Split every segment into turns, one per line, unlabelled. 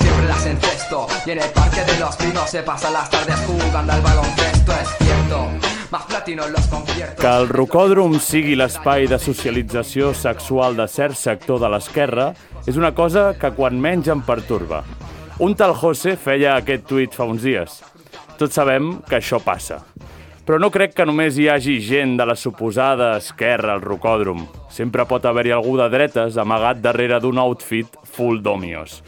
Siempre las encesto Y en el parque de los pinos se pasan las tardes jugando al baloncesto Es cierto, más platino en los conciertos
Que el rocòdrom sigui l'espai de socialització sexual de cert sector de l'esquerra és una cosa que quan menys em pertorba. Un tal José feia aquest tuit fa uns dies. Tots sabem que això passa. Però no crec que només hi hagi gent de la suposada esquerra al rocòdrom. Sempre pot haver-hi algú de dretes amagat darrere d'un outfit full d'òmios.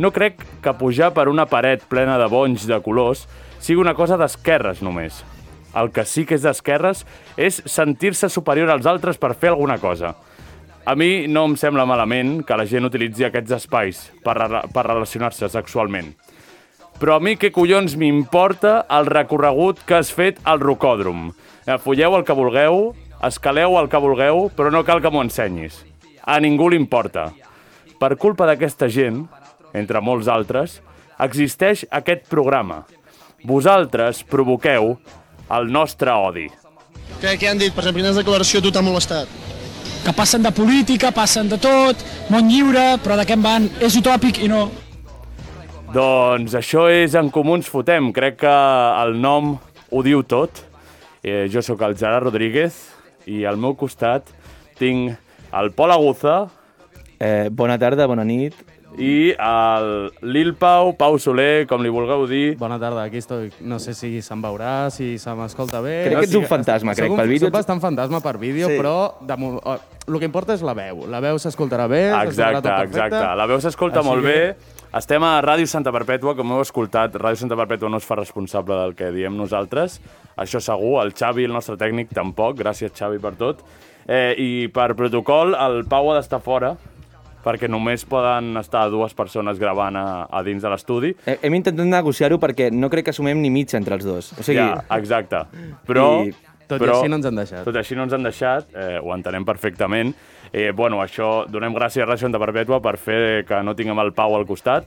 No crec que pujar per una paret plena de bonys de colors sigui una cosa d'esquerres només. El que sí que és d'esquerres és sentir-se superior als altres per fer alguna cosa. A mi no em sembla malament que la gent utilitzi aquests espais per, re- per relacionar-se sexualment. Però a mi què collons m'importa el recorregut que has fet al rocòdrom? Eh, Folleu el que vulgueu, escaleu el que vulgueu, però no cal que m'ho ensenyis. A ningú li importa. Per culpa d'aquesta gent, entre molts altres, existeix aquest programa. Vosaltres provoqueu el nostre odi.
Què, què han dit? Per exemple, quina declaració a tu t'ha molestat?
que passen de política, passen de tot, món lliure, però de què en van? És utòpic i no.
Doncs això és En Comú ens fotem. Crec que el nom ho diu tot. Eh, jo sóc el Gerard Rodríguez i al meu costat tinc el Pol Aguza
Eh, bona tarda, bona nit.
i el Lil Pau, Pau Soler, com li vulgueu dir.
Bona tarda, aquí estoy. No sé si se'm veurà, si se m'escolta bé...
Crec que ets un fantasma, crec,
Soc un,
pel vídeo
Soc bastant fantasma per vídeo,
Sí.
sí. però de, mo- eh, el que importa és la veu. La veu s'escoltarà bé, s'escoltarà
Exacte,
tot perfecte.
exacte. La veu s'escolta
Així
molt
que-
bé. Estem a Ràdio Santa Perpètua, com heu escoltat, Ràdio Santa Perpètua no es fa responsable del que diem nosaltres, això segur, el Xavi, el nostre tècnic, tampoc, gràcies Xavi per tot. Eh, I per protocol, el Pau ha d'estar fora, perquè només poden estar dues persones gravant a, a dins de l'estudi.
He- Hem intentat negociar-ho perquè no crec que sumem ni mitja entre els dos. O sigui,
Ja, exacte. Però...
I
tot i
però,
així no ens han deixat.
Tot i així no ens han deixat, eh, ho entenem perfectament. Eh, bueno, això, donem gràcies a Ràdio Santa Perpètua per fer que no tinguem el Pau al costat.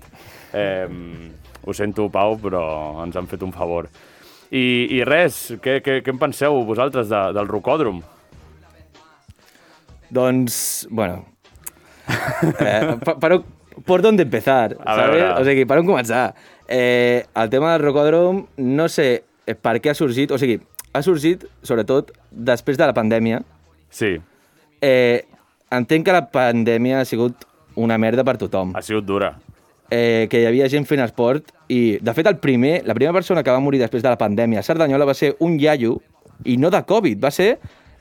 Eh, ho sento, Pau, però ens han fet un favor. I, i res, què, què, què en penseu vosaltres de, del rocòdrom?
doncs, bueno... Eh, pa- però, per on empezar,
A
¿sabes?
veure.
O sigui, per on començar? Eh, el tema del rocòdrom, no sé eh, per què ha sorgit, o sigui, ha sorgit, sobretot, després de la pandèmia.
Sí,
Eh, entenc que la pandèmia ha sigut una merda per tothom.
ha sigut dura.
eh, que hi havia gent fent esport i, de fet, el primer, la primera persona que va morir després de la pandèmia a Cerdanyola va ser un iaio, i no de Covid, va ser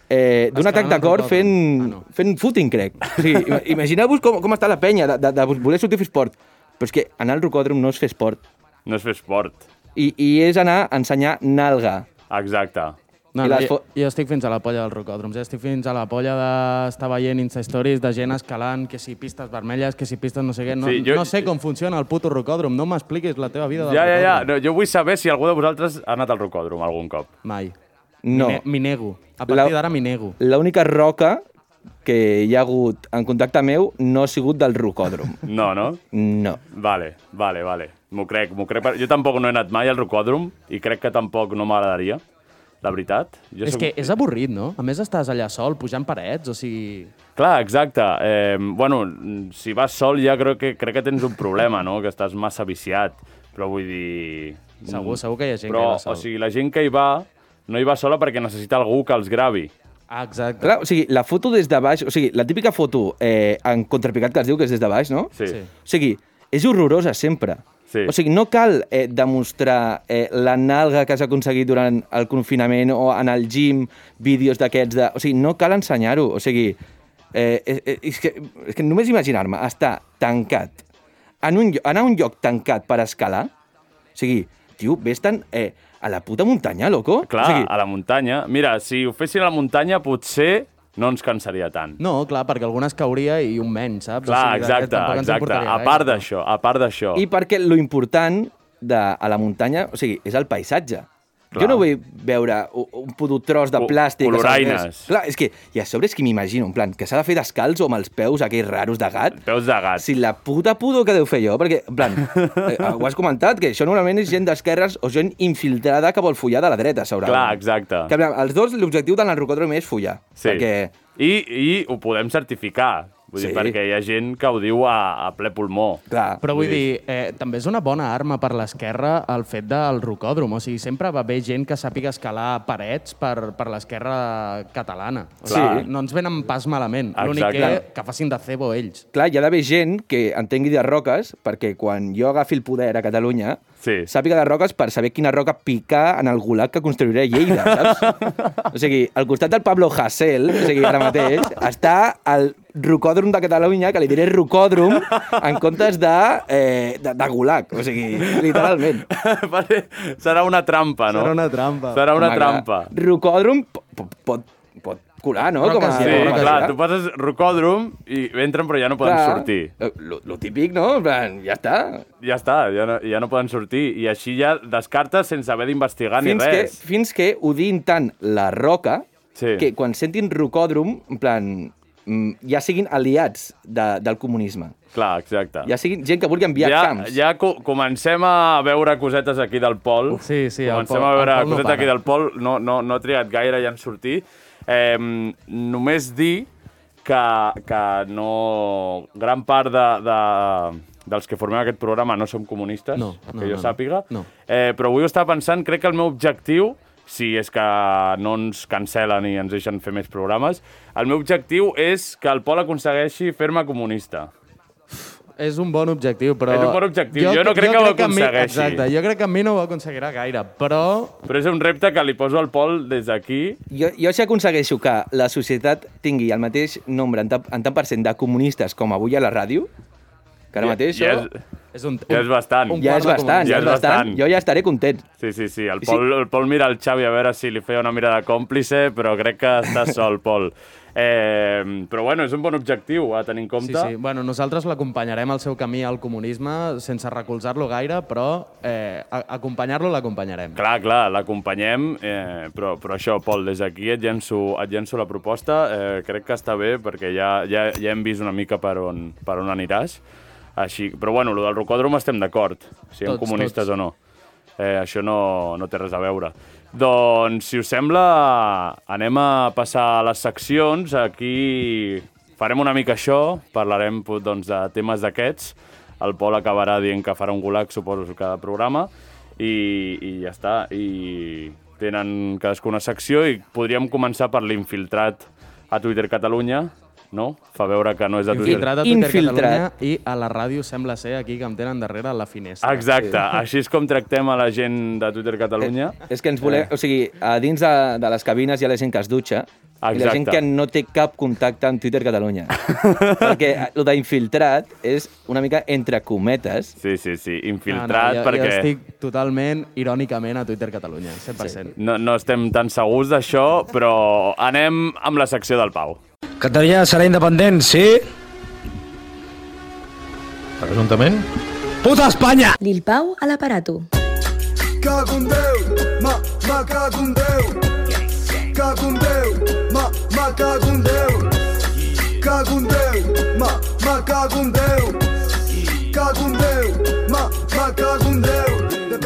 eh, d'un atac
Escalant
de
el
cor
rocòdrom.
fent,
Ah, no.
fent footing, crec. O sigui, ima- imagineu-vos com, com està la penya de, de, de voler sortir a fer esport. Però és que anar al rocòdrom no és fer esport.
No és fer esport.
I, i és anar a ensenyar nalga.
Exacte.
No,
I
no,
les
jo,
fo-
jo estic fins a la polla del rocòdrom, ja estic fins a la polla d'estar veient Insta Stories de gent escalant, que si pistes vermelles, que si pistes no sé què... No,
Sí,
sí,
jo-
jo... no sé com funciona el puto rocòdrom, no m'expliquis la teva vida del
Ja, ja, ja.
rocòdrom.
No, jo vull saber si algú de vosaltres ha anat al rocòdrom algun cop.
Mai.
No.
Ne- M'hi nego.
La-
A partir d'ara m'hi nego.
L'única roca que hi ha hagut en contacte meu no ha sigut del rocòdrom.
No, no?
No.
Vale, vale, vale. M'ho crec, m'ho crec. per- Jo tampoc no he anat mai al rocòdrom i crec que tampoc no m'agradaria, la veritat. Jo
És
soc-
que és avorrit, no? A més, estàs allà sol, pujant parets, o sigui...
Clar, exacte. Eh, bueno, mm, si vas sol ja crec que, crec que tens un problema, no? Que estàs massa viciat. Però vull dir... mm,
Segur, segur que hi ha gent
Però,
que hi va sol.
o sigui, la gent que hi va no hi va sola perquè necessita algú que els gravi.
Ah, exacte.
Clar, o sigui, la foto des de baix, o sigui, la típica foto eh, en contrapicat que es diu que és des de baix, no?
Sí. sí.
Sí.
O sigui, és horrorosa sempre.
Sí.
O sigui, no cal eh, demostrar eh, la nalga que has aconseguit durant el confinament o en el gym, vídeos d'aquests de... O sigui, no cal ensenyar-ho. O sigui, eh, eh, eh, és, que, és que només imaginar-me estar tancat, en un, llo- anar a un lloc tancat per escalar, o sigui, tio, vés-te'n eh, a la puta muntanya, loco.
Clar,
o sigui,
a la muntanya. Mira, si ho fessin a la muntanya potser no ens cansaria tant.
No, clar, perquè algunes cauria i un menys, saps?
Clar,
Mm, de-
exacte,
tampoc ens
exacte.
importaria
A
gaire.
part d'això, a part d'això.
I perquè lo important de, a la muntanya, o sigui, és el paisatge. Clar.
Clar.
Jo no vull veure u- un puto tros de
Co-
plàstic... que s'ha
coloraines.
pres. Clar, és que, i a sobre és que m'imagino, en plan, que s'ha de fer descalç o amb els peus aquells raros de gat.
Peus de gat.
Si la puta pudor que deu fer jo, perquè, en plan, eh, ho has comentat, que això normalment és gent d'esquerres o gent infiltrada que vol follar de la dreta, segurament.
Clar, exacte.
Que, en plan, els dos, l'objectiu de l'enrocòdrom és follar.
Sí.
Perquè
I, I ho podem certificar, vull sí.
Sí.
dir, perquè hi ha gent que ho diu a, a ple pulmó.
Clar.
Però vull dir, eh, també és una bona arma per l'esquerra el fet del rocòdrom. O sigui, sempre va haver gent que sàpiga escalar parets per, per l'esquerra catalana. O
Sí.
sigui, No ens venen pas malament. L'únic
Exacte.
que, que facin de cebo ells.
Clar, hi ha d'haver gent que entengui de roques, perquè quan jo agafi el poder a Catalunya,
Sí.
eh, sàpiga de roques per saber quina roca picar en el gulag que construiré a Lleida, saps? o sigui, al costat del Pablo Hasél, o sigui, ara mateix, està el rocòdrom de Catalunya, que li diré rocòdrom, en comptes de, eh, de, de gulag, o sigui, literalment.
Vale, Serà una trampa, no?
Serà una trampa.
Serà una
Home,
trampa.
clar, Rocòdrom po- po- pot, pot colar, no?
Roca
Com a,
sí,
Sí,
com
clar,
a ciutat.
tu poses rocòdrom i entren però ja no poden
Clar,
sortir.
eh, Lo, lo típic, no? En plan, ja està.
Ja està, ja no, ja no poden sortir. I així ja descartes sense haver d'investigar ni
fins que,
res.
fins que odiïn tant la roca
Sí.
sí. que quan sentin rocòdrom, en plan, mm, ja siguin aliats de, del comunisme.
Clar, exacte.
Ja siguin gent que vulgui enviar
ja,
camps.
ja co comencem a veure cosetes aquí del Pol.
Sí, sí, el
Comencem
Pol-
a veure
el Pol no
cosetes
para.
aquí del Pol. No, no, no ha triat gaire ja en sortir. Eh, només dir que, que no... Gran part de, de, dels que formem aquest programa no som comunistes,
No, no,
que jo
no, no.
sàpiga.
No.
Eh, però avui ho estava pensant, crec que el meu objectiu si és que no ens cancel·len i ens deixen fer més programes. El meu objectiu és que el Pol aconsegueixi fer-me comunista.
És un bon objectiu, però...
És un bon objectiu. Jo no crec que ho
a mi-
aconsegueixi.
Exacte, jo crec que a mi no ho aconseguirà gaire, però...
Però és un repte que li poso al Pol des d'aquí.
Jo, jo si aconsegueixo que la societat tingui el mateix nombre en, tant- en tant per cent de comunistes com avui a la ràdio, que ara mateix
ja
jo-
és,
És un,
Ja és bastant.
un
ja
quart
és
de
bastant,
comunisme.
ja és bastant. Jo ja estaré content.
sí, sí, sí. El
Sí.
Pol, el Pol mira el Xavi a veure si li feia una mirada còmplice, però crec que està sol, Pol. Eh, però bueno, és un bon objectiu a tenir en
Sí,
compte.
sí. Bueno, nosaltres l'acompanyarem al seu camí al comunisme sense recolzar-lo gaire, però eh, a- acompanyar-lo l'acompanyarem.
Clar, clar, l'acompanyem, eh, però, però això, Pol, des d'aquí et, llenço, et llenço la proposta. Eh, crec que està bé perquè ja, ja, ja hem vist una mica per on, per on aniràs. Així, però bueno, lo del rocòdrom estem d'acord, si tots,
Tots,
comunistes
tots.
o no. Eh, això no, no té res a veure. Doncs, si us sembla, anem a passar a les seccions. Aquí farem una mica això, parlarem pu- doncs, de temes d'aquests. El Pol acabarà dient que farà un gulag, suposo, cada programa. I, i ja està. I tenen cadascú una secció i podríem començar per l'infiltrat a Twitter Catalunya, no? Fa veure que no és de Twitter.
Infiltrat a Twitter
Infiltrat.
Catalunya i a la ràdio sembla ser aquí que em tenen darrere la finestra.
Exacte, així és com tractem a la gent de Twitter Catalunya.
És que ens
Eh.
volem... O sigui, a dins de, de les cabines hi ha la gent que es dutxa i la
Exacte.
gent que no té cap contacte amb Twitter Catalunya. perquè el d'infiltrat és una mica entre cometes.
Sí, sí, sí, infiltrat
Ah, jo,
perquè...
Jo estic totalment, irònicament, a Twitter Catalunya, 100%.
No, no estem tan segurs d'això, però anem amb la secció del Pau.
Catalunya serà independent, sí?
Presumptament?
Puta Espanya!
Lil Pau a l'aparato.
Cago en Déu, ma, ma cago en Déu. Cago en Déu, ma, ma cago en Déu. Cago en Déu, ma, ma cago en Déu. Cago en Déu, ma, ma cago en Déu. De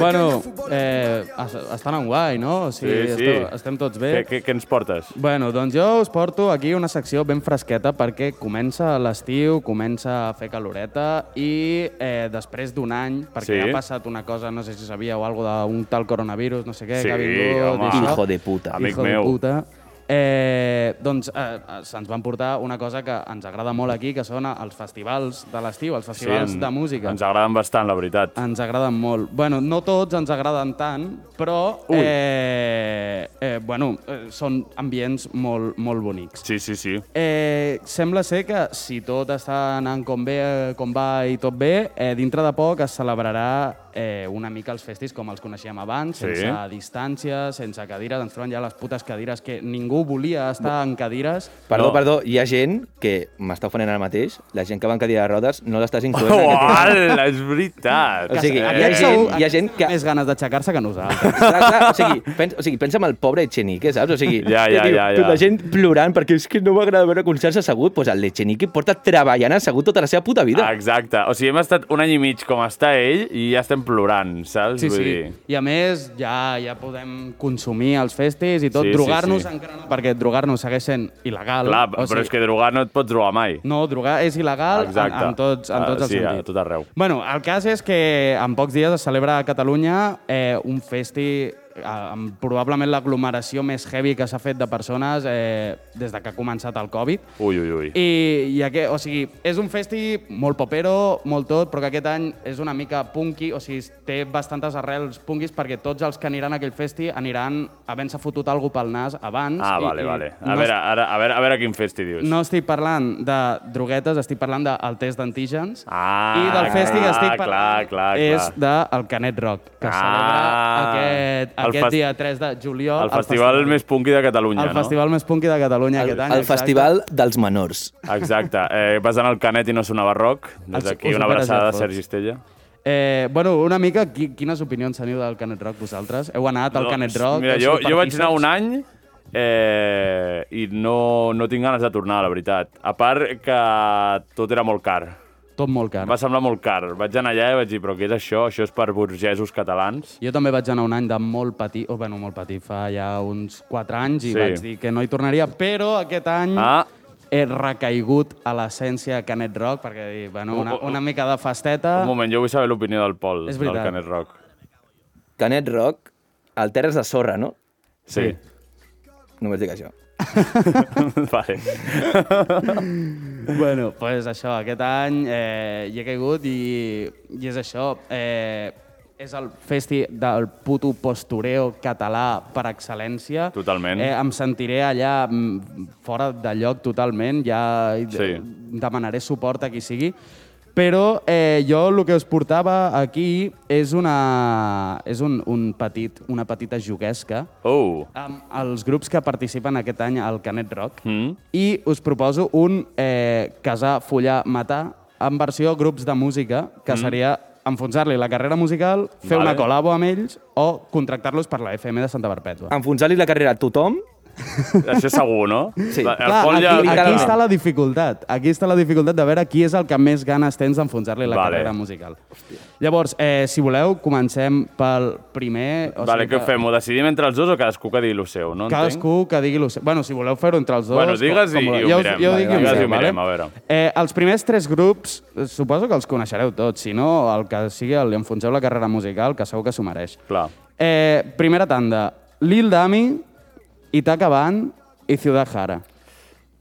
pequeño
Bueno,
fútbol-
eh, es- estan en guai, no? O sigui, Esteu, estem tots bé.
Què, què, què ens portes?
Bueno, doncs jo us porto aquí una secció ben fresqueta perquè comença l'estiu, comença a fer caloreta i eh, després d'un any, perquè
Sí.
ha passat una cosa, no sé si sabíeu, algo d'un tal coronavirus, no sé què,
Sí,
que ha vingut...
home.
i això.
Hijo de puta.
Amic
Hijo de
meu.
Puta. Eh, doncs eh, eh, se'ns van portar una cosa que ens agrada molt aquí, que són els festivals de l'estiu, els festivals
en-
de música. Ah.
Ens agraden bastant, la veritat.
Ens agraden molt. Bueno, no tots ens agraden tant, però
Ui.
eh, eh, bueno, eh, són ambients molt, molt bonics.
Sí, sí, sí.
Eh, sembla ser que si tot està anant com, bé, eh, com va i tot bé, eh, dintre de poc es celebrarà eh, una mica els festis com els coneixíem abans,
Sí.
sí. sense distàncies, sense cadires, ens troben ja les putes cadires que ningú volia estar en cadires.
Perdó,
No.
no. perdó, hi ha gent que m'està ofenent ara mateix, la gent que va en cadira de rodes, no l'estàs incloent. en aquest programa.
Uala, és veritat.
O sigui, eh, hi ha
Aquests
gent,
segur-
hi ha gent que...
Eh, Més ganes d'aixecar-se que nosaltres.
Clar, clar, o, sigui, pensa, o sigui, pensa en el pobre Echenique, saps? O sigui,
Ja, ja,
que diu,
ja,
tu,
ja.
la gent plorant perquè és que no m'agrada veure concerts assegut, doncs el Echenique porta treballant assegut tota la seva puta vida.
Eh, Exacte. O sigui, hem estat un any i mig com està ell i ja estem plorant, saps?
Sí,
Vull
sí.
dir,
I a més, ja ja podem consumir els festis i tot,
Sí, sí,
drogar-nos
sí.
encara no, perquè drogar-nos segueix sent il·legal.
Clar, o però és que drogar no et pots drogar mai.
No, drogar és il·legal en,
Exacte.
en tots, en
Ah,
tots els
sí, a
sentits.
tot arreu.
Bueno, el cas és que en pocs dies es celebra a Catalunya eh, un festi eh, amb probablement l'aglomeració més heavy que s'ha fet de persones eh, des de que ha començat el Covid.
Ui, ui, ui.
I, i aquest, o sigui, és un festi molt popero, molt tot, però que aquest any és una mica punky, o sigui, té bastantes arrels punkis perquè tots els que aniran a aquell festi aniran havent-se fotut alguna pel nas abans.
Ah, vale, vale. A veure, ara, a veure, a veure quin festi dius.
No estic parlant de droguetes, estic parlant del test d'antígens.
Ah,
I del festi que estic
clar,
parlant
clar, clar.
és del Canet Rock, que
Ah.
celebra aquest,
El
aquest
fes-
dia 3 de juliol.
El festival més punky de Catalunya,
El
no?
festival més punky de Catalunya aquest any.
El festival dels menors.
Exacte. Eh, vas anar al Canet i no sonava rock. Des
Els-
d'aquí
us
una
ho faràs
abraçada
ja
a
fots.
Sergi Estella.
Eh, bueno, una mica, qui, quines opinions teniu del Canet Rock vosaltres? Heu anat al Canet Rock?
Mira,
Heu
jo,
sigut
jo vaig anar
partícips?
un any eh, i no, no tinc ganes de tornar, la veritat. A part que tot era molt car.
Tot molt car.
Em va semblar molt car. Vaig anar allà i vaig dir, però què és això? Això és per burgesos catalans.
Jo també vaig anar un any de molt petit, o bueno, molt petit, fa ja uns 4 anys, i
Sí.
sí. vaig dir que no hi tornaria, però aquest any...
Ah.
he recaigut a l'essència de Canet Rock, perquè bueno, una, una mica de festeta...
Oh, Un moment, jo vull saber l'opinió del Pol,
És
del
veritat.
Canet Rock.
Canet Rock, el terra és de sorra, no?
Sí.
Només dic això.
vale.
Bueno, pues això, aquest any eh, hi he caigut i, i és això. Eh, és el festi del puto postureo català per excel·lència.
Totalment.
Eh, em sentiré allà mm, fora de lloc totalment, ja
Sí.
sí. demanaré suport a qui sigui. Però eh, jo el que us portava aquí és, una, és un, un petit, una petita juguesca
Oh,
amb els grups que participen aquest any al Canet Rock mm.
Hmm?
i us proposo un eh, casar, follar, matar en versió grups de música, que mm. seria enfonsar-li la carrera musical, fer
Vale.
una col·labo amb ells o contractar-los per la FM de Santa Perpètua.
Ah,
Enfonsar-li la carrera a tothom,
això segur, no?
Sí.
La- El
Clar,
Pol ja...
aquí, aquí
Literalment.
està la dificultat. Aquí està la dificultat de veure qui és el que més ganes tens d'enfonsar-li la
Vale.
carrera musical. Llavors, eh, si voleu, comencem pel primer... O
Vale, què
que-
fem? Ho decidim entre els dos o cadascú que digui el seu? No entenc.
Cadascú que digui... lo seu. Bueno, si voleu fer-ho entre els dos...
Bueno, digues i-
voleu.
i ho
jo, us-
mirem.
Jo
Vale, vale,
dic i ho
digues i ho
mirem, vale?
mirem, a veure.
Eh, els primers tres grups, eh, suposo que els coneixereu tots, si no, el que sigui, li enfonseu la carrera musical, que segur que s'ho mereix.
Clar.
Eh, primera tanda, Lil Dami, Itaca Van i Ciudad Jara.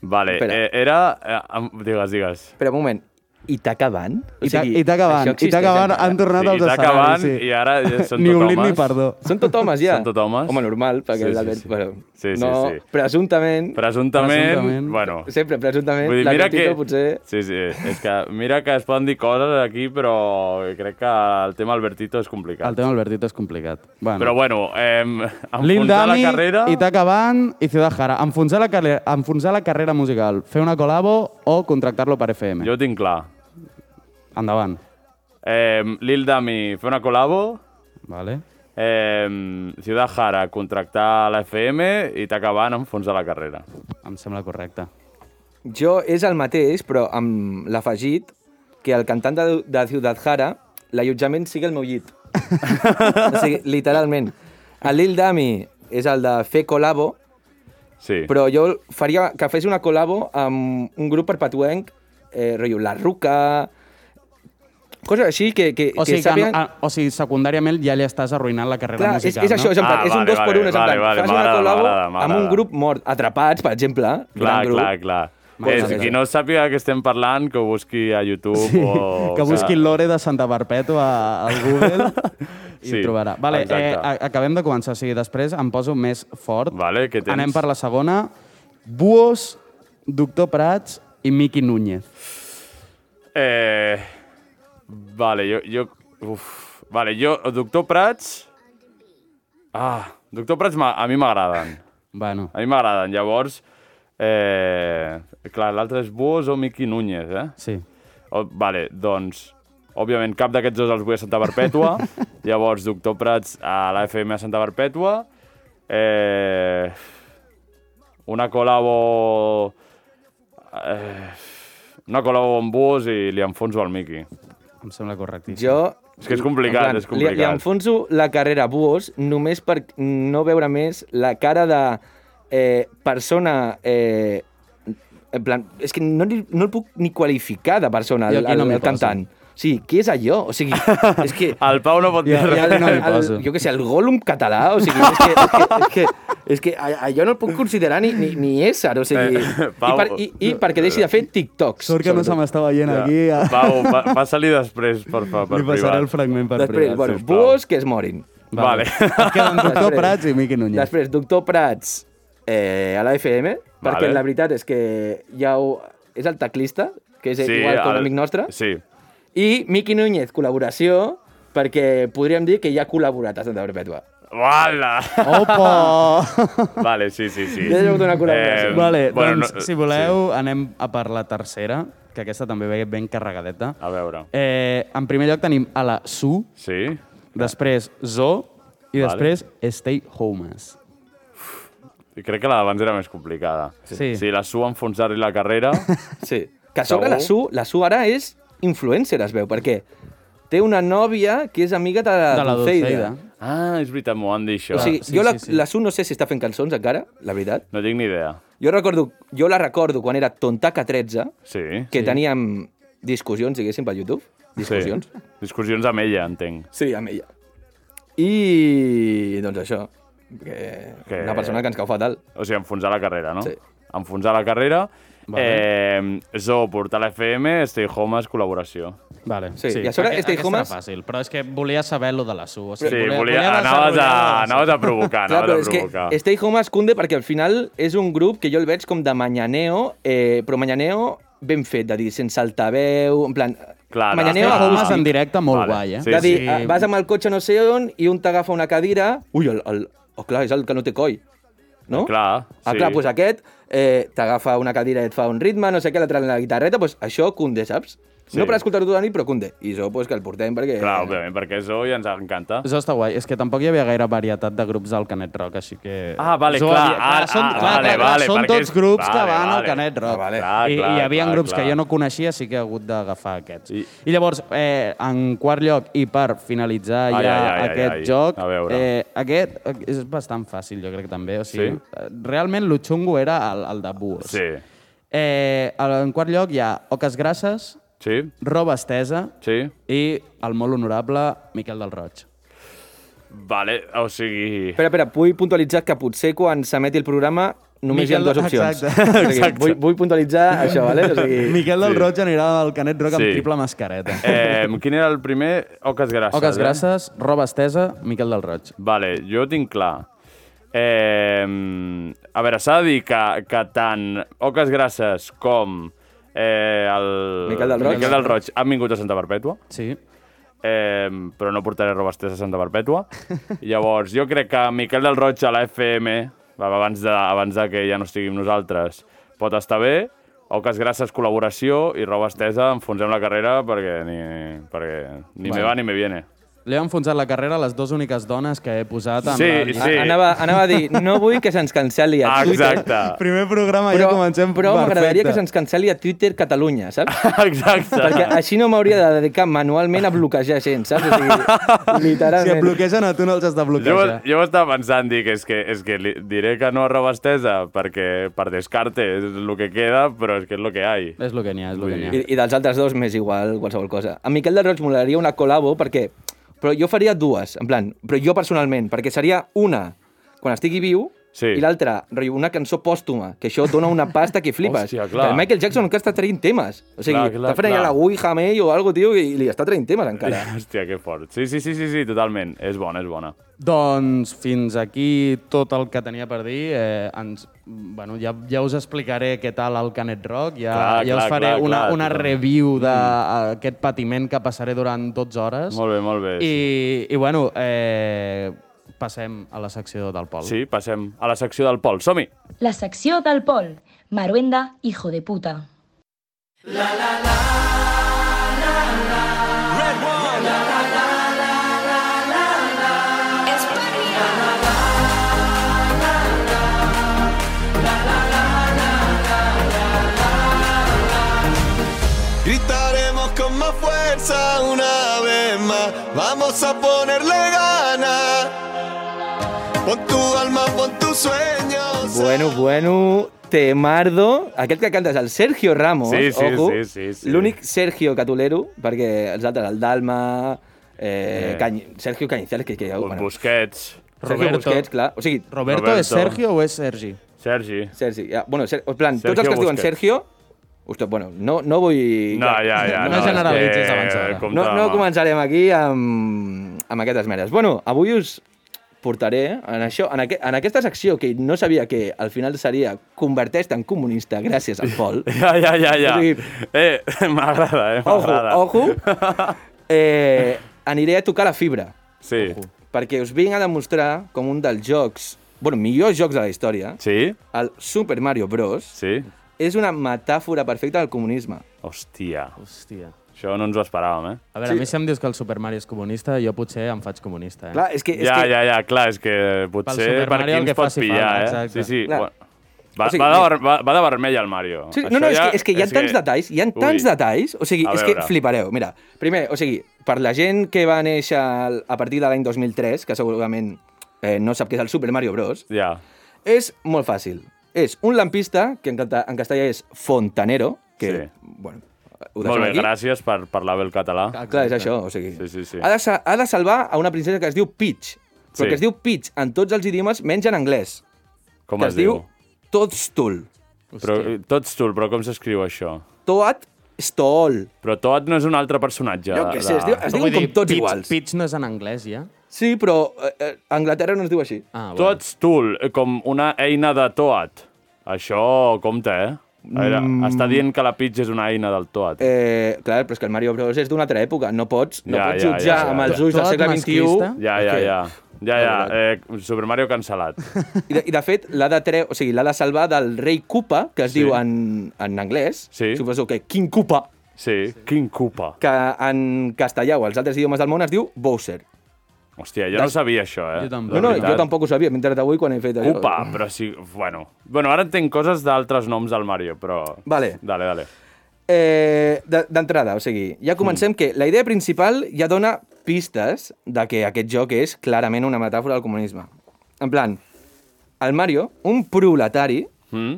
Vale,
Espera.
eh, era... Eh, am- digues, digues.
però un moment, i t'acabant?
Ita- Itaca Van, Itaca Van
eh?
han tornat als
sí, s'ha acabat
escenaris. Sí.
i ara ja són
ni
tot
oblit ni
homes.
perdó.
Són tot homes, ja?
Són tot homes.
Home, normal, perquè
Sí,
sí,
sí,
l'Albert...
sí.
Sí, Bueno,
Sí, sí,
no,
sí.
Presumptament,
Presumptament,
Presumptament.
bueno...
sempre presumptament,
Vull dir, mira que...
potser...
Sí, sí, és que mira que es poden dir coses aquí, però crec que el tema Albertito és complicat.
El tema Albertito és complicat. Bueno.
Però bueno, eh,
Lil
enfonsar la
Dami,
carrera...
Itaca Van i Ciudad Jara. Enfonsar la, carre- enfonsar la carrera musical, fer una col·labo o contractar-lo per FM.
Jo ho tinc clar.
Endavant.
Eh, Lil Dami, fer una col·labo...
Vale.
Eh, Ciudad Jara, contractar la FM i t'acabant enfonsar la carrera.
Em sembla correcte.
Jo és el mateix, però amb l'afegit que el cantant de, de Ciudad Jara, l'allotjament sigui el meu llit. o sigui, literalment. El Lil Dami és el de fer col·labo,
Sí.
però jo faria que fes una col·labo amb un grup perpetuenc, eh, rotllo La Ruca, coses així que, que,
O sigui,
que
que,
sàpiguen...
a, o sigui, secundàriament ja li estàs arruïnant la carrera
Clar,
musical,
és, és això, és, en
no?
plan,
Ah,
és un
vale,
dos per un, és en
vale,
plan,
vale,
fas una
m'agrada,
col·labo
m'agrada,
amb un
m'agrada.
grup mort, atrapats, per exemple,
Clar,
gran grup.
clar, clar.
Molt
És,
bé.
qui no sàpiga que estem parlant, que ho busqui a YouTube sí, Oh, o...
que busqui l'Ore de Santa Perpètua al Google i
Sí,
ho trobarà. Vale,
exacte.
eh, a- acabem de començar, o sigui, després em poso més fort.
Vale, què tens?
Anem per la segona. Buos, Doctor Prats i Miqui Núñez.
Eh, vale, jo... jo uf, Vale, jo, doctor Prats... Ah, doctor Prats m'a- a mi m'agraden.
Bueno,
A mi m'agraden, llavors... Eh, clar, l'altre és Bos o Miqui Núñez, eh?
sí.
O, vale, doncs... Òbviament, cap d'aquests dos els vull a Santa Perpètua. Llavors, doctor Prats a l'AFM a Santa Perpètua. Eh, una col·labo... Eh, una col·labo amb Bus i li enfonso al Miqui.
Em sembla correctíssim.
Jo...
És que és complicat,
en
és complicat.
Li, li enfonso la carrera a Buos només per no veure més la cara de eh, persona... Eh, en plan, és que no, li- no el puc ni qualificar de persona,
Jo
el,
aquí no
el,
m'hi
el cantant. Sí, què és allò? O sigui, és que...
El Pau no pot dir
el,
res.
el,
no hi
el,
poso.
jo què sé, el Gollum català, o sigui, és que, és que, és que, és que a- allò no el puc considerar ni, ni, ni ésser, o sigui...
Eh,
i,
Pau- eh,
per, i, I perquè deixi de fer TikToks.
Sort que no se m'està veient
Ja.
aquí. Ja.
Pau, pa, passa-li després, per, per, per
Li passaré el
privat.
fragment per
Després,
privat.
bueno,
sisplau.
buos que es morin.
Vale.
Et queden Doctor
Després.
Prats i Miqui Núñez.
Després, doctor Prats eh, a la FM, perquè la veritat és que ja ho... És el teclista, que és igual que un amic nostre.
Sí.
I Miqui Núñez, col·laboració, perquè podríem dir que ja ha col·laborat a Santa Perpètua.
Uala!
Opa!
Vale, sí, sí, sí.
Ja hi ha hagut una col·laboració.
Vale,
bueno,
doncs,
no-
si voleu, anem a per la tercera, que aquesta també ve ben carregadeta.
A veure.
Eh, en primer lloc tenim a la Su,
Sí?
després Zo, i
Vale.
després Stay Homes.
I crec que la d'abans era més complicada.
Sí.
Sí, la Su a enfonsar-li la carrera.
Sí. Que a sobre la Su, la Su ara és influencer, es veu, perquè té una nòvia que és amiga de,
De la Dulceida.
ah, és veritat, m'ho van dir això.
O sigui,
sí,
jo la,
sí, sí.
la Su no sé si està fent cançons encara, la veritat.
No tinc ni idea.
Jo, recordo, jo la recordo quan era Tontaca 13,
Sí.
que teníem discussions, diguéssim, per YouTube. Discussions.
Sí. Discussions amb ella, entenc.
Sí, amb ella. I, doncs això, que,
Que-
una persona que ens cau fatal.
O sigui, enfonsar la carrera, no?
Sí.
Enfonsar la carrera. Vale. Eh, Zo, portal FM, Stay Home, és col·laboració.
Vale,
Sí, i a sobre
Aquest-
Stay
aquesta
Homes-
era fàcil, però és que volia saber lo de la Su. O sigui,
Sí,
volia,
volia,
volia
anaves, a,
desenvolupar la Su.
anaves a provocar,
Clar, però
anaves
és
a provocar.
que Stay Home es cunde perquè al final és un grup que jo el veig com de mañaneo, eh, però mañaneo ben fet, de dir, sense altaveu, en plan...
Clar, no,
mañaneo
Stay
a
Home
Homes en
gusti.
directe molt
Vale.
guai, eh?
Sí,
de dir,
sí.
eh, vas amb el cotxe no sé on i un t'agafa una cadira... Ui, el, el, oh, clar, és el que no té coll, no?
Clar,
Ah,
sí.
clar, doncs aquest eh, t'agafa una cadira i et fa un ritme, no sé què, l'altre amb la guitarreta, doncs això cunde, saps?
Sí.
No per escoltar-ho tota la nit, però cunde. I això doncs, que el portem perquè...
Clar, òbviament, perquè Zo ja ens encanta.
Zo està guai. És que tampoc hi havia gaire varietat de grups al Canet Rock, així que...
Ah, vale,
Zo
clar,
havia-
ah, ah, vale, vale,
són
perquè
tots
és-
grups que
vale,
van al
vale.
Canet Rock.
Ah, vale.
Clar,
I,
clar,
I hi havia
clar,
grups
clar.
que jo no coneixia, sí que he hagut d'agafar aquests.
I-
I, I llavors, eh, en quart lloc, i per finalitzar
Ai,
ja
ai, ai, ai,
aquest
ai.
joc,
A veure.
eh, aquest és bastant fàcil, jo crec, també. O sigui,
Sí?
eh, Realment, lo xungo era el, el de Buos.
Sí.
Eh, en quart lloc hi ha Oques Grasses,
Sí?
Roba Estesa
Sí?
i el molt honorable Miquel del Roig.
Vale, o sigui...
Espera, espera, vull puntualitzar que potser quan s'emeti el programa només hi ha
Miquel-
dues opcions.
Exacte.
O sigui, vull, vull puntualitzar això, vale? O sigui,
Miquel del Roig anirà al Canet
Sí.
Rock amb triple mascareta.
Eh, quin era el primer? Oques grasses.
Oques
eh?
grasses, roba estesa, Miquel del Roig.
Vale, jo ho tinc clar. Eh, a veure, s'ha de dir que, que tant Oques grasses com eh, el...
Miquel del Roig.
Miquel del Roig han vingut a Santa Perpètua.
Sí.
Eh, però no portaré roba estesa a Santa Perpètua. Llavors, jo crec que Miquel del Roig a la FM, abans de, abans de que ja no estiguim nosaltres, pot estar bé. Oques grasses, col·laboració i roba estesa, enfonsem la carrera perquè ni, perquè ni me
Bueno.
va ni me viene.
Li han enfonsat la carrera a les dues úniques dones que he posat en
Sí,
la
a-
llista.
sí.
anava, anava a dir, no vull que se'ns cancel·li a Twitter.
Exacte.
Primer programa
Però,
Ah, ja comencem
però m'agradaria
perfecte.
que se'ns cancel·li a Twitter Catalunya, saps?
Exacte.
Perquè així no m'hauria de dedicar manualment a bloquejar gent, saps? O sigui,
Si et
literalment.
bloquegen a tu no els has de
Jo,
bloquejar.
jo ho estava pensant, dic, és que, és que li, diré que no a roba estesa perquè per descarte és el que queda, però és que és el que hi ha.
És el que n'hi ha, és el que n'hi ha.
I, I dels altres dos m'és igual qualsevol cosa. A Miquel del Roig molaria una col·labo perquè... Però jo faria dues, en plan, però jo personalment, perquè seria una quan estigui viu
Sí.
I l'altra, rotllo, una cançó pòstuma, que això dona una pasta que flipes.
Hòstia, clar.
Que El Michael Jackson encara està traient temes. O sigui,
Clar, clar,
està fent allà
clar.
la Wii Hamey o algo, tio, i li està traient temes encara.
Hòstia, que fort. Sí, sí, sí, sí, sí, totalment. És bona, és bona.
Doncs fins aquí tot el que tenia per dir. Eh, ens, bueno, ja, ja us explicaré què tal el Canet Rock, ja,
Clar,
ja us
clar,
faré
clar,
una,
clar,
una
totalment.
review d'aquest patiment que passaré durant 12 hores.
Molt bé, molt bé.
I, i bueno, eh, passem a la secció del Pol.
Sí, passem a la secció del Pol. Som-hi!
La secció del Pol. Maruenda, hijo de puta.
Gritaremos con más fuerza una vez más. Vamos a ponerle ganas. Pon tu alma, pon tus sueños.
Bueno, bueno, temardo. Aquest que canta és el Sergio Ramos.
Sí, sí,
ojo.
sí, sí, sí.
L'únic Sergio Catulero, perquè els altres, el Dalma, eh,
Eh.
Cany... Sergio Cañizales, que, que
Bueno. Busquets,
Sergio
Roberto.
Busquets, clar. O sigui,
Roberto,
Roberto.
és Sergio o és Sergi?
Sergi...
Sergi, ja, bueno, Ser... en plan, tots
Sergio
els que es diuen
Busquets.
Sergio... Ostres, bueno, no, no vull...
No, ja, ja.
No
és
generalitzis
que,
abans d'hora.
compte,
No, no
home.
començarem aquí amb, amb aquestes meres. Bueno, avui us portaré en, això, en, aqu en aquesta secció que no sabia que al final seria converteix-te en comunista gràcies al Pol.
Ja, ja, ja, ja.
O sigui-
Eh, m'agrada, eh, m'agrada.
Ojo, ojo. Eh, aniré a tocar la fibra,
Sí.
perquè us vinc a demostrar com un dels jocs, bueno, millors jocs de la història,
Sí?
el Super Mario Bros.
Sí?
és una metàfora perfecta del comunisme.
Hòstia,
Hòstia.
això no ens ho esperàvem, eh?
A veure, sí. a mi si em dius que el Super Mario és comunista, jo potser em faig comunista, eh?
Clar, és que... És
ja,
que...
ja, ja, clar, és que potser
Super
per
Mario
aquí
el
ens
que
pot
faci
pillar,
falta,
eh?
exacte.
Sí, sí.
Clar.
Bueno, va,
O sigui,
va, de, ver- va, va de vermell al Mario.
Sí,
Això
no, no, és,
ja-
que, és que hi ha tants detalls, hi ha tants
Ui.
detalls, o sigui,
A
és que
veure.
flipareu. Mira, primer, o sigui, per la gent que va néixer al- a partir de l'any 2003, que segurament eh, no sap què és el Super Mario Bros.,
Ja.
És molt fàcil. És un lampista, que en, cata, en castellà és fontanero, que,
Sí.
bueno, ho deixem
Molt bé,
aquí. Ah,
gràcies per parlar bé el català.
Clar, és això, o sigui...
Sí, sí, sí.
Ha, de, sa- ha de salvar a una princesa que es diu Peach, però
Sí.
que es diu Peach en tots els idiomes, menys en anglès,
Com
que
es, diu?
Toadstool.
Però, tots tu, però com s'escriu això?
Toadstool.
Però Toad no és un altre personatge.
Jo què sé, es
Ah,
diu- es
No,
diuen
vull
com
dir,
tots
Peach-
iguals.
Peach no és en anglès, ja?
Sí, però eh, eh, a Anglaterra no es diu així.
Ah,
Tots tool, eh, com una eina de Toad. Això compta, eh? A veure, està dient que la Peach és una eina del Toad.
Mm. Eh, clar, però és que el Mario Bros és d'una altra època. No pots, no
Ja,
pots
ja, ja,
jutjar
ja.
amb els ulls del
Toad
segle
masclista?
XXI.
Ja, ja,
És que-
ja. Ja, ja. Eh, Super Mario cancel·lat.
I de, i de fet, l'ha de, tre... o sigui, l'ha de salvar del rei Koopa, que es
Sí.
sí. diu en, en anglès,
Sí.
suposo que King Koopa,
Sí, King Koopa.
que en castellà o els altres idiomes del món es diu Bowser.
Hòstia, jo no sabia això, eh?
Jo tampoc.
De
No, no,
veritat.
jo tampoc ho sabia, mentre avui quan he fet allò.
Koopa, però sí... Bueno, bueno ara entenc coses d'altres noms del Mario, però...
Vale.
Dale, dale.
Eh, de- D'entrada, o sigui, ja comencem
Mm.
que la idea principal ja dona pistes de que aquest joc és clarament una metàfora del comunisme. En plan, el Mario, un proletari,
Mm?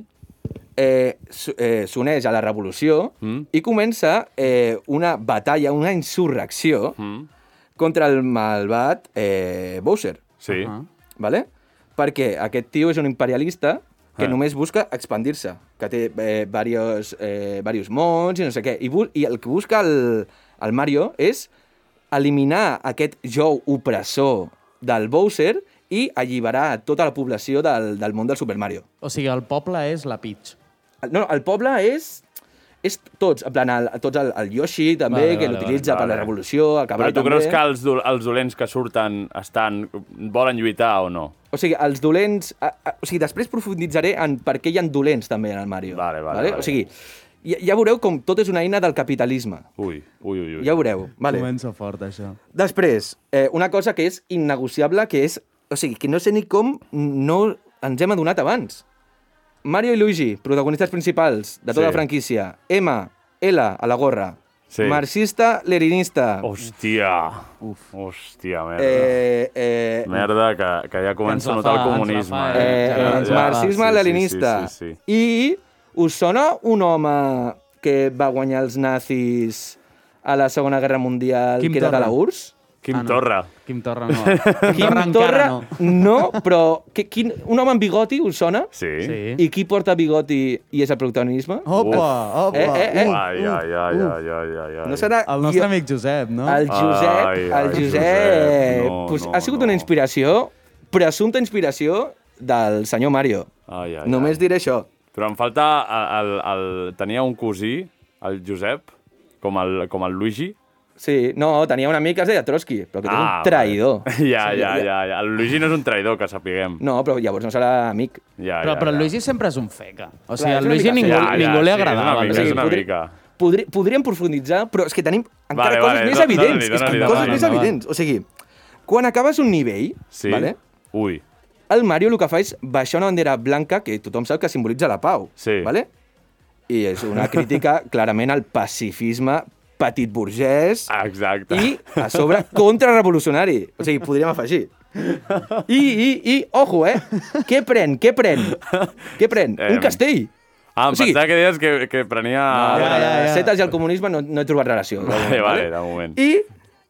eh, s- eh, s'uneix a la revolució
Mm.
i comença eh, una batalla, una insurrecció
Mm?
contra el malvat eh, Bowser,
Sí.
Ah.
vale? perquè aquest tio és un imperialista que
Ah.
només busca expandir-se, que té eh, varios, eh, varios mons i no sé què. I, bu- i el que busca el, el Mario és eliminar aquest jou opressor del Bowser i alliberar a tota la població del, del món del Super Mario.
O sigui, el poble és la Peach.
No, no, el poble és és tots, en plan, el, tots el, el Yoshi també,
Vale,
que
vale,
l'utilitza
vale,
per
vale.
la revolució, el
Però
cavall
tu
també.
creus que els, do els dolents que surten estan... volen lluitar o no?
O sigui, els dolents... A, a, o sigui, després profunditzaré en per què hi ha dolents també en el Mario.
Vale, vale, vale.
O sigui, ja, ja veureu com tot és una eina del capitalisme.
Ui, ui, ui. ui.
Ja ho veureu. Vale.
Comença fort, això.
Després, eh, una cosa que és innegociable, que és... O sigui, que no sé ni com no ens hem adonat abans. Mario i Luigi, protagonistes principals de tota
Sí.
la franquícia. M, L, a la gorra.
Sí.
Marxista, lerinista.
Hòstia. Uf. Hòstia, merda. Eh...
eh, eh,
Merda, que, que ja comença
la
a notar el
fa, ens la
comunisme.
fa,
eh?
eh,
Ja,
eh,
ja.
marxisme
Sí, sí,
leninista.
Sí, sí, sí.
I us sona un home que va guanyar els nazis a la Segona Guerra Mundial,
Quim
que era
Torra.
de la URSS?
Quim
Ah, no.
Torra.
Quim Torra no. Quim Torra
Quim
encara
Torra,
no.
no, però que, quin, un home amb bigoti us sona?
Sí.
Sí. Oh,
I qui porta bigoti i és el protagonisme?
Opa, opa.
Eh, eh, eh.
Ai, ai, ai, ai, ai, ai, ai.
No serà...
El nostre
jo-
amic Josep, no?
El Josep,
Ai,
el
ai,
Josep.
Josep, no,
pues
no,
ha sigut
no.
una inspiració, presumpta inspiració, del senyor Mario.
Ai, ai,
Només
ai.
diré això.
Però em falta... El, el, el... Tenia un cosí, el Josep, com el, com el Luigi.
Sí, no, tenia un amic que es deia Trotsky, però que ah, un traïdor.
Vale. Ja, ja, ja, ja. El Luigi no és un traïdor, que sapiguem.
No, però llavors no serà amic.
Ja,
Però,
ja,
però el
ja.
Luigi sempre és un feca. O
Clar,
sigui,
és
al
una
Luigi
mica
ningú,
feca.
ningú
Ja, ja, sí,
li
és una
agradava.
mica,
el Luigi.
és una
podri-
mica.
Podri, podríem profunditzar, però és que tenim encara
Vale,
coses
vale,
més
do- dona-li,
evidents. és que
dona-li,
coses
dona-li,
més
endavant.
evidents. O sigui, quan acabes un nivell,
Sí?
vale,
Ui.
el Mario el que fa és baixar una bandera blanca que tothom sap que simbolitza la pau.
Sí.
Vale? I és una crítica clarament al pacifisme petit
Ah,
burgès
Exacte.
i, a sobre, contrarrevolucionari. O sigui, podríem afegir. I, i, i, ojo, eh? Què pren? Què pren? Què pren?
Em,
Un castell.
Ah, em
O sigui-
pensava que deies que, que prenia...
A veure,
ja, ja.
les setes i el comunisme no, no he trobat relació. de
Vale,
moment,
vale, de moment.
I,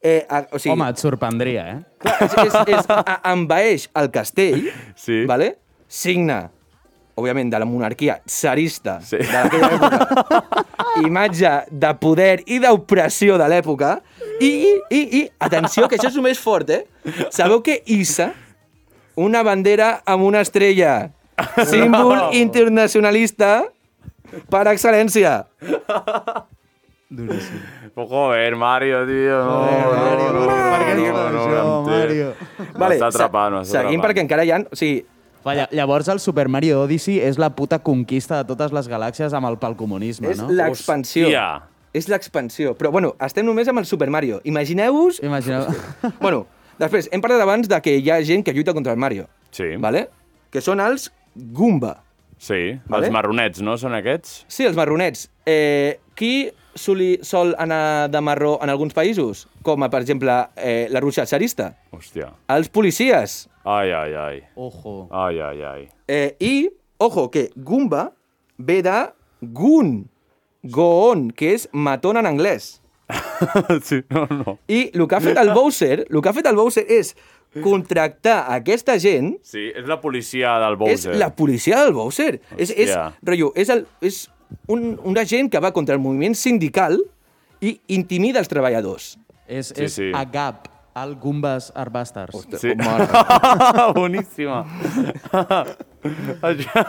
eh, a, o sigui,
Home, et sorprendria, eh?
clar, és, és, és, a, envaeix el castell,
Sí.
vale? signa, òbviament, de la monarquia tsarista
Sí.
sí. de d'aquella època, imatge de poder i d'opressió de l'època, i, i, i, i, atenció, que això és el més fort, eh? Sabeu que hissa una bandera amb una estrella, símbol internacionalista per excel·lència.
Oh, Joder, Mario, tio. No, no, no, no, no, em
Per què ens fa això,
té.
Mario?
M'està atrapant,
se-
m'està
Seguim
atrapant.
perquè encara hi ha... O sigui,
Va, lla- Llavors el Super Mario Odyssey és la puta conquista de totes les galàxies amb el pel comunisme,
és
no?
l'expansió.
Hòstia.
És l'expansió. Però, bueno, estem només amb el Super Mario. Imagineu-vos...
Imagineu...
bueno, després, hem parlat abans de que hi ha gent que lluita contra el Mario.
Sí.
Vale? Que són els Goomba.
Sí,
Vale.
els marronets, no? Són aquests?
Sí, els marronets. Eh, qui soli, sol anar de marró en alguns països? Com, per exemple, eh, la Rússia tsarista.
Hòstia.
Els policies.
Ai, ai, ai.
Oh.
Ojo.
Ai, ai, ai.
Eh, I, ojo, que Goomba ve de Goon, Goon, que és matón en anglès.
sí, no, no.
I el que ha fet el Bowser, el que ha fet el Bowser és contractar aquesta gent
Sí, és la policia del
és
Bowser.
la policia del Bowser. És, és,
Hòstia.
rotllo, és, el, és un, una gent que va contra el moviment sindical i intimida els treballadors.
És,
Sí,
és
sí.
a Gap, al Goombas Arbasters.
Sí.
Oh, mare.
Boníssima. Això...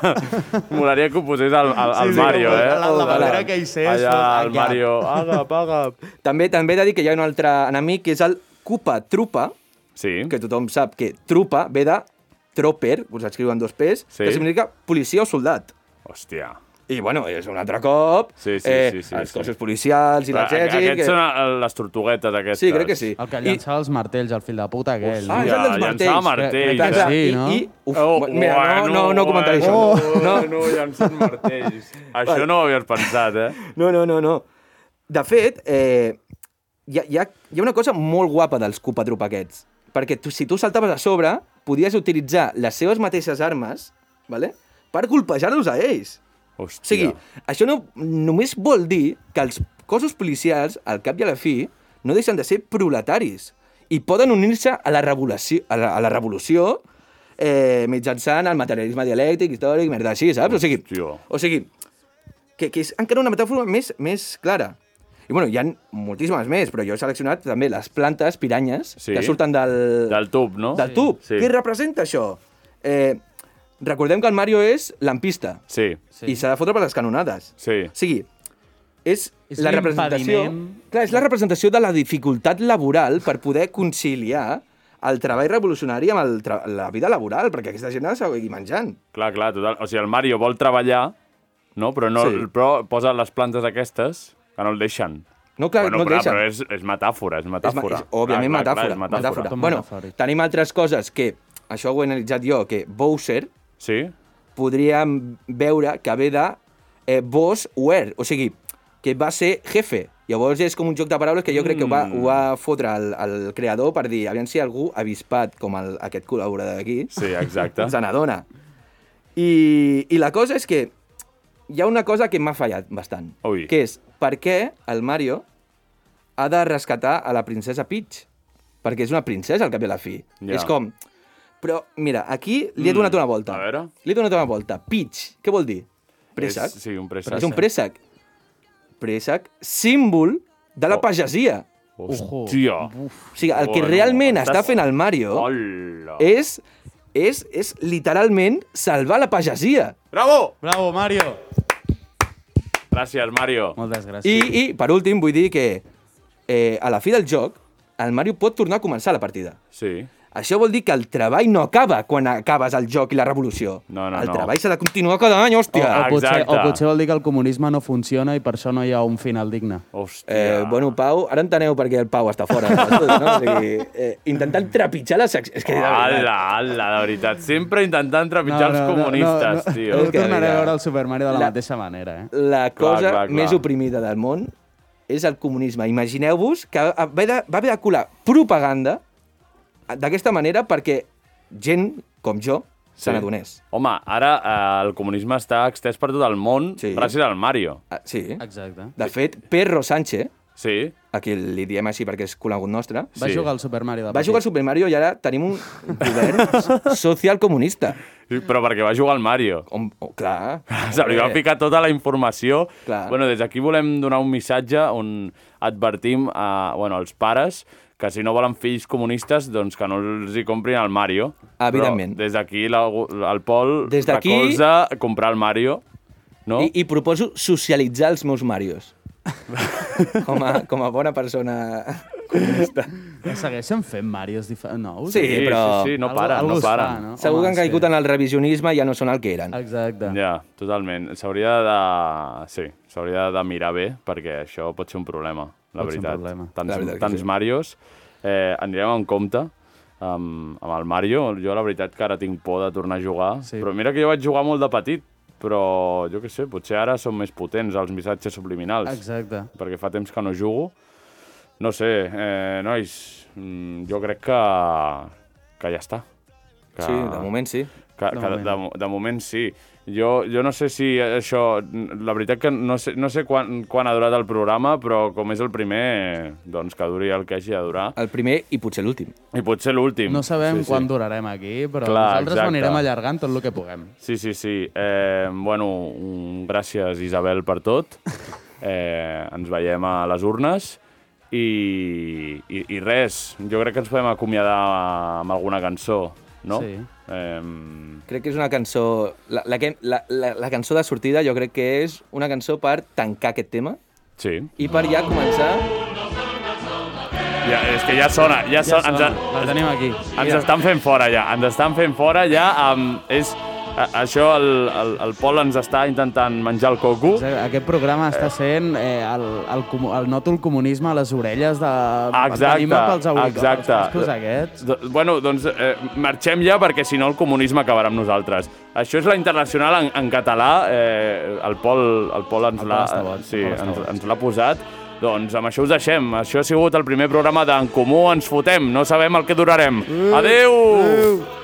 Molaria que ho posés al, al, al
Sí, sí,
Mario,
com
eh?
la- la bandera
Allà-
que hi sé,
Allà,
això,
al
agap.
Mario. Agap, agap.
També també he de dir que hi ha un altre enemic, que és el Koopa Trupa,
Sí.
que tothom sap que trupa ve de trooper, us escriu en dos P's,
Sí.
sí. que significa policia o soldat.
Hòstia.
I, bueno, és un altre cop, eh,
Sí, sí, sí, sí,
els
sí.
cossos policials i
Però a-
l'exèrcit...
Aquests són el- les tortuguetes, aquestes.
Sí, crec que sí.
El que llançava els martells, el fill de puta aquell.
Ah, és
Ja,
el dels martells.
llançava martells.
Clar, clar,
Sí,
i-
no?
i, uf,
Oh,
mira, no, no, no comentaré això.
No,
No,
no, llancen martells. Això no ho havies pensat, eh?
no, no, no, no. De fet, eh, hi, ha, hi, ha, hi ha una cosa molt guapa dels Cupatrup aquests, perquè tu, si tu saltaves a sobre, podies utilitzar les seves mateixes armes vale? per colpejar-los a ells.
Hòstia.
O sigui, això no, només vol dir que els cossos policials, al cap i a la fi, no deixen de ser proletaris i poden unir-se a la revolució, a la, a la revolució eh, mitjançant el materialisme dialèctic, històric, merda així, saps? O sigui,
Hòstia.
o sigui que, que és encara una metàfora més, més clara. I bueno, hi ha moltíssimes més, però jo he seleccionat també les plantes piranyes
Sí.
sí. que surten del...
Del tub, no?
Del tub.
Sí.
Sí. Què representa això? Eh, recordem que el Mario és lampista.
Sí,
Sí. I s'ha de fotre per les canonades.
sí.
O sigui, és,
És
la representació...
l'impediment.
Clar, és la representació de la dificultat laboral per poder conciliar el treball revolucionari amb el tra la vida laboral, perquè aquesta gent ha de seguir menjant.
Clar, clar, total. O sigui, el Mario vol treballar, no? Però, no,
Sí.
però posa les plantes aquestes que no el deixen.
No, clar,
bueno,
no et
clar,
deixen.
Però és, és metàfora, és
És, ma-
metàfora.
és, òbviament,
clar,
metàfora.
Clar, és metàfora.
Tot
Bueno,
metafòric.
tenim altres coses que, això ho he analitzat jo, que Bowser
Sí?
podríem veure que ve de eh, boss were, o sigui, que va ser jefe. Llavors és com un joc de paraules que jo crec que ho va, ho va fotre el, el creador per dir, aviam si algú avispat com el, aquest col·laborador d'aquí
Sí, exacte.
se n'adona. Doncs I, I la cosa és que hi ha una cosa que m'ha fallat bastant,
Ui.
que és per què el Mario ha de rescatar a la princesa Peach? perquè és una princesa, al cap i a la fi.
Ja.
És com... Però, mira, aquí li he
Mm,
donat una volta.
a veure.
Li he donat una volta. Peach, què vol dir? Préssec.
És- sí, un préssec.
Però és un préssec. Préssec, símbol de la pagesia.
Hòstia.
O sigui, el
Oh.
que
Bueno,
realment
estàs-
està fent el Mario
Hola.
és, és, és literalment salvar la pagesia.
Bravo!
Bravo, Mario!
Gràcies, Mario.
Moltes gràcies.
I, I, per últim, vull dir que eh, a la fi del joc, el Mario pot tornar a començar la partida.
Sí.
Això vol dir que el treball no acaba quan acabes el joc i la revolució.
No, no,
el
no. Oh,
treball s'ha de continuar cada any,
O,
hòstia.
o, potser, o
Exacte.
potser vol dir que el comunisme no funciona i per això no hi ha un final digne.
Hòstia.
Eh, bueno, Pau, ara enteneu per què el Pau està fora. de l'estudi, no? O sigui, eh, intentant trepitjar la secció... És que, de veritat,
Ala, ala, de veritat. Sempre intentant trepitjar els comunistes, tio.
No tornaré
mira,
a veure el Super Mario de la,
la-
mateixa manera, eh?
la
Clar,
cosa clar,
clar,
clar,
clar.
més oprimida del món és el comunisme. Imagineu-vos que va haver de, va haver de colar propaganda d'aquesta manera perquè gent com jo se n'adonés.
Home, ara eh, el comunisme està extès per tot el món sí.
Sí.
gràcies al Mario.
Ah, sí.
Exacte.
De fet, Perro Sánchez,
Sí,
a qui li diem així perquè és conegut nostre,
Va
Sí.
jugar al Super Mario de
va jugar al
petit.
Super Mario i ara tenim un govern social comunista.
Sí, però perquè va jugar al Mario.
On, oh, clar.
Se li va
Eh,
ficar tota la informació.
Clar.
Bueno, des d'aquí volem donar un missatge on advertim a, bueno, als pares que si no volen fills comunistes, doncs que no els hi comprin el Mario.
Evidentment.
Però des d'aquí la- el Pol
Des d'aquí-
recolza comprar el Mario, no?
I, I proposo socialitzar els meus Marios. com, a, com a bona persona comunista.
Segueixen fent Marios dif... nous?
Sí, però-
sí, sí, no
Algo-
para,
algo
no
es
para.
fa, no?
Segur
Home,
que han caigut
sí.
en el revisionisme i ja no són el que eren.
Exacte.
Ja, totalment. S'hauria de... Sí, s'hauria de mirar bé, perquè això pot ser un problema, la
Pot ser un
veritat.
problema.
Tants,
La veritat que
tants
sí.
Marios. Eh, anirem amb compte amb, amb el Mario. Jo, la veritat, que ara tinc por de tornar a jugar.
Sí.
Però mira que jo vaig jugar molt de petit, però jo què sé, potser ara són més potents els missatges subliminals.
Exacte.
Perquè fa temps que no jugo. No sé, eh, nois, mm, jo crec que, que ja està. Que...
Sí, de moment sí.
Que, de, que moment. De, mo- de moment sí. Jo, jo no sé si això... La veritat que no sé, no sé quan, quan ha durat el programa, però com és el primer, doncs que duri el que hagi de durar.
El primer i potser l'últim.
I potser l'últim.
No sabem sí, quan durarem aquí, però
Clar,
nosaltres ho
exacte.
anirem allargant tot el que puguem.
Sí, sí, sí. Eh, bueno, mm, gràcies, Isabel, per tot. Eh, ens veiem a les urnes. I, i, I res, jo crec que ens podem acomiadar amb alguna cançó, no?
Sí.
Eh,
Crec que és una cançó... La, la, que- la, la, la cançó de sortida jo crec que és una cançó per tancar aquest tema
sí.
i per ja començar...
Ja, és que ja sona, ja,
Ja
sona. Ens,
sona,
en-
la tenim aquí.
Ens estan fent fora ja, ens estan fent fora ja. Um, és, a, això el, el, el Pol ens està intentant menjar el coco.
O sigui, Aquest programa està sent eh, el, el, comu- el nòtol comunisme a les orelles de...
Exacte,
Anima pels auriculars,
exacte.
els cascos aquests.
Do, bueno, doncs eh, marxem ja perquè si no el comunisme acabarà amb nosaltres. Això és la internacional en, en català, eh, el Pol, el Pol ens
El Pol
l'ha
està boig,
sí,
el Pol està
ens,
boig.
ens l'ha posat. Doncs amb això us deixem.
Uh,
Això ha sigut el primer programa d'En Comú Ens Fotem. No sabem el que durarem. Adeu! Adeu!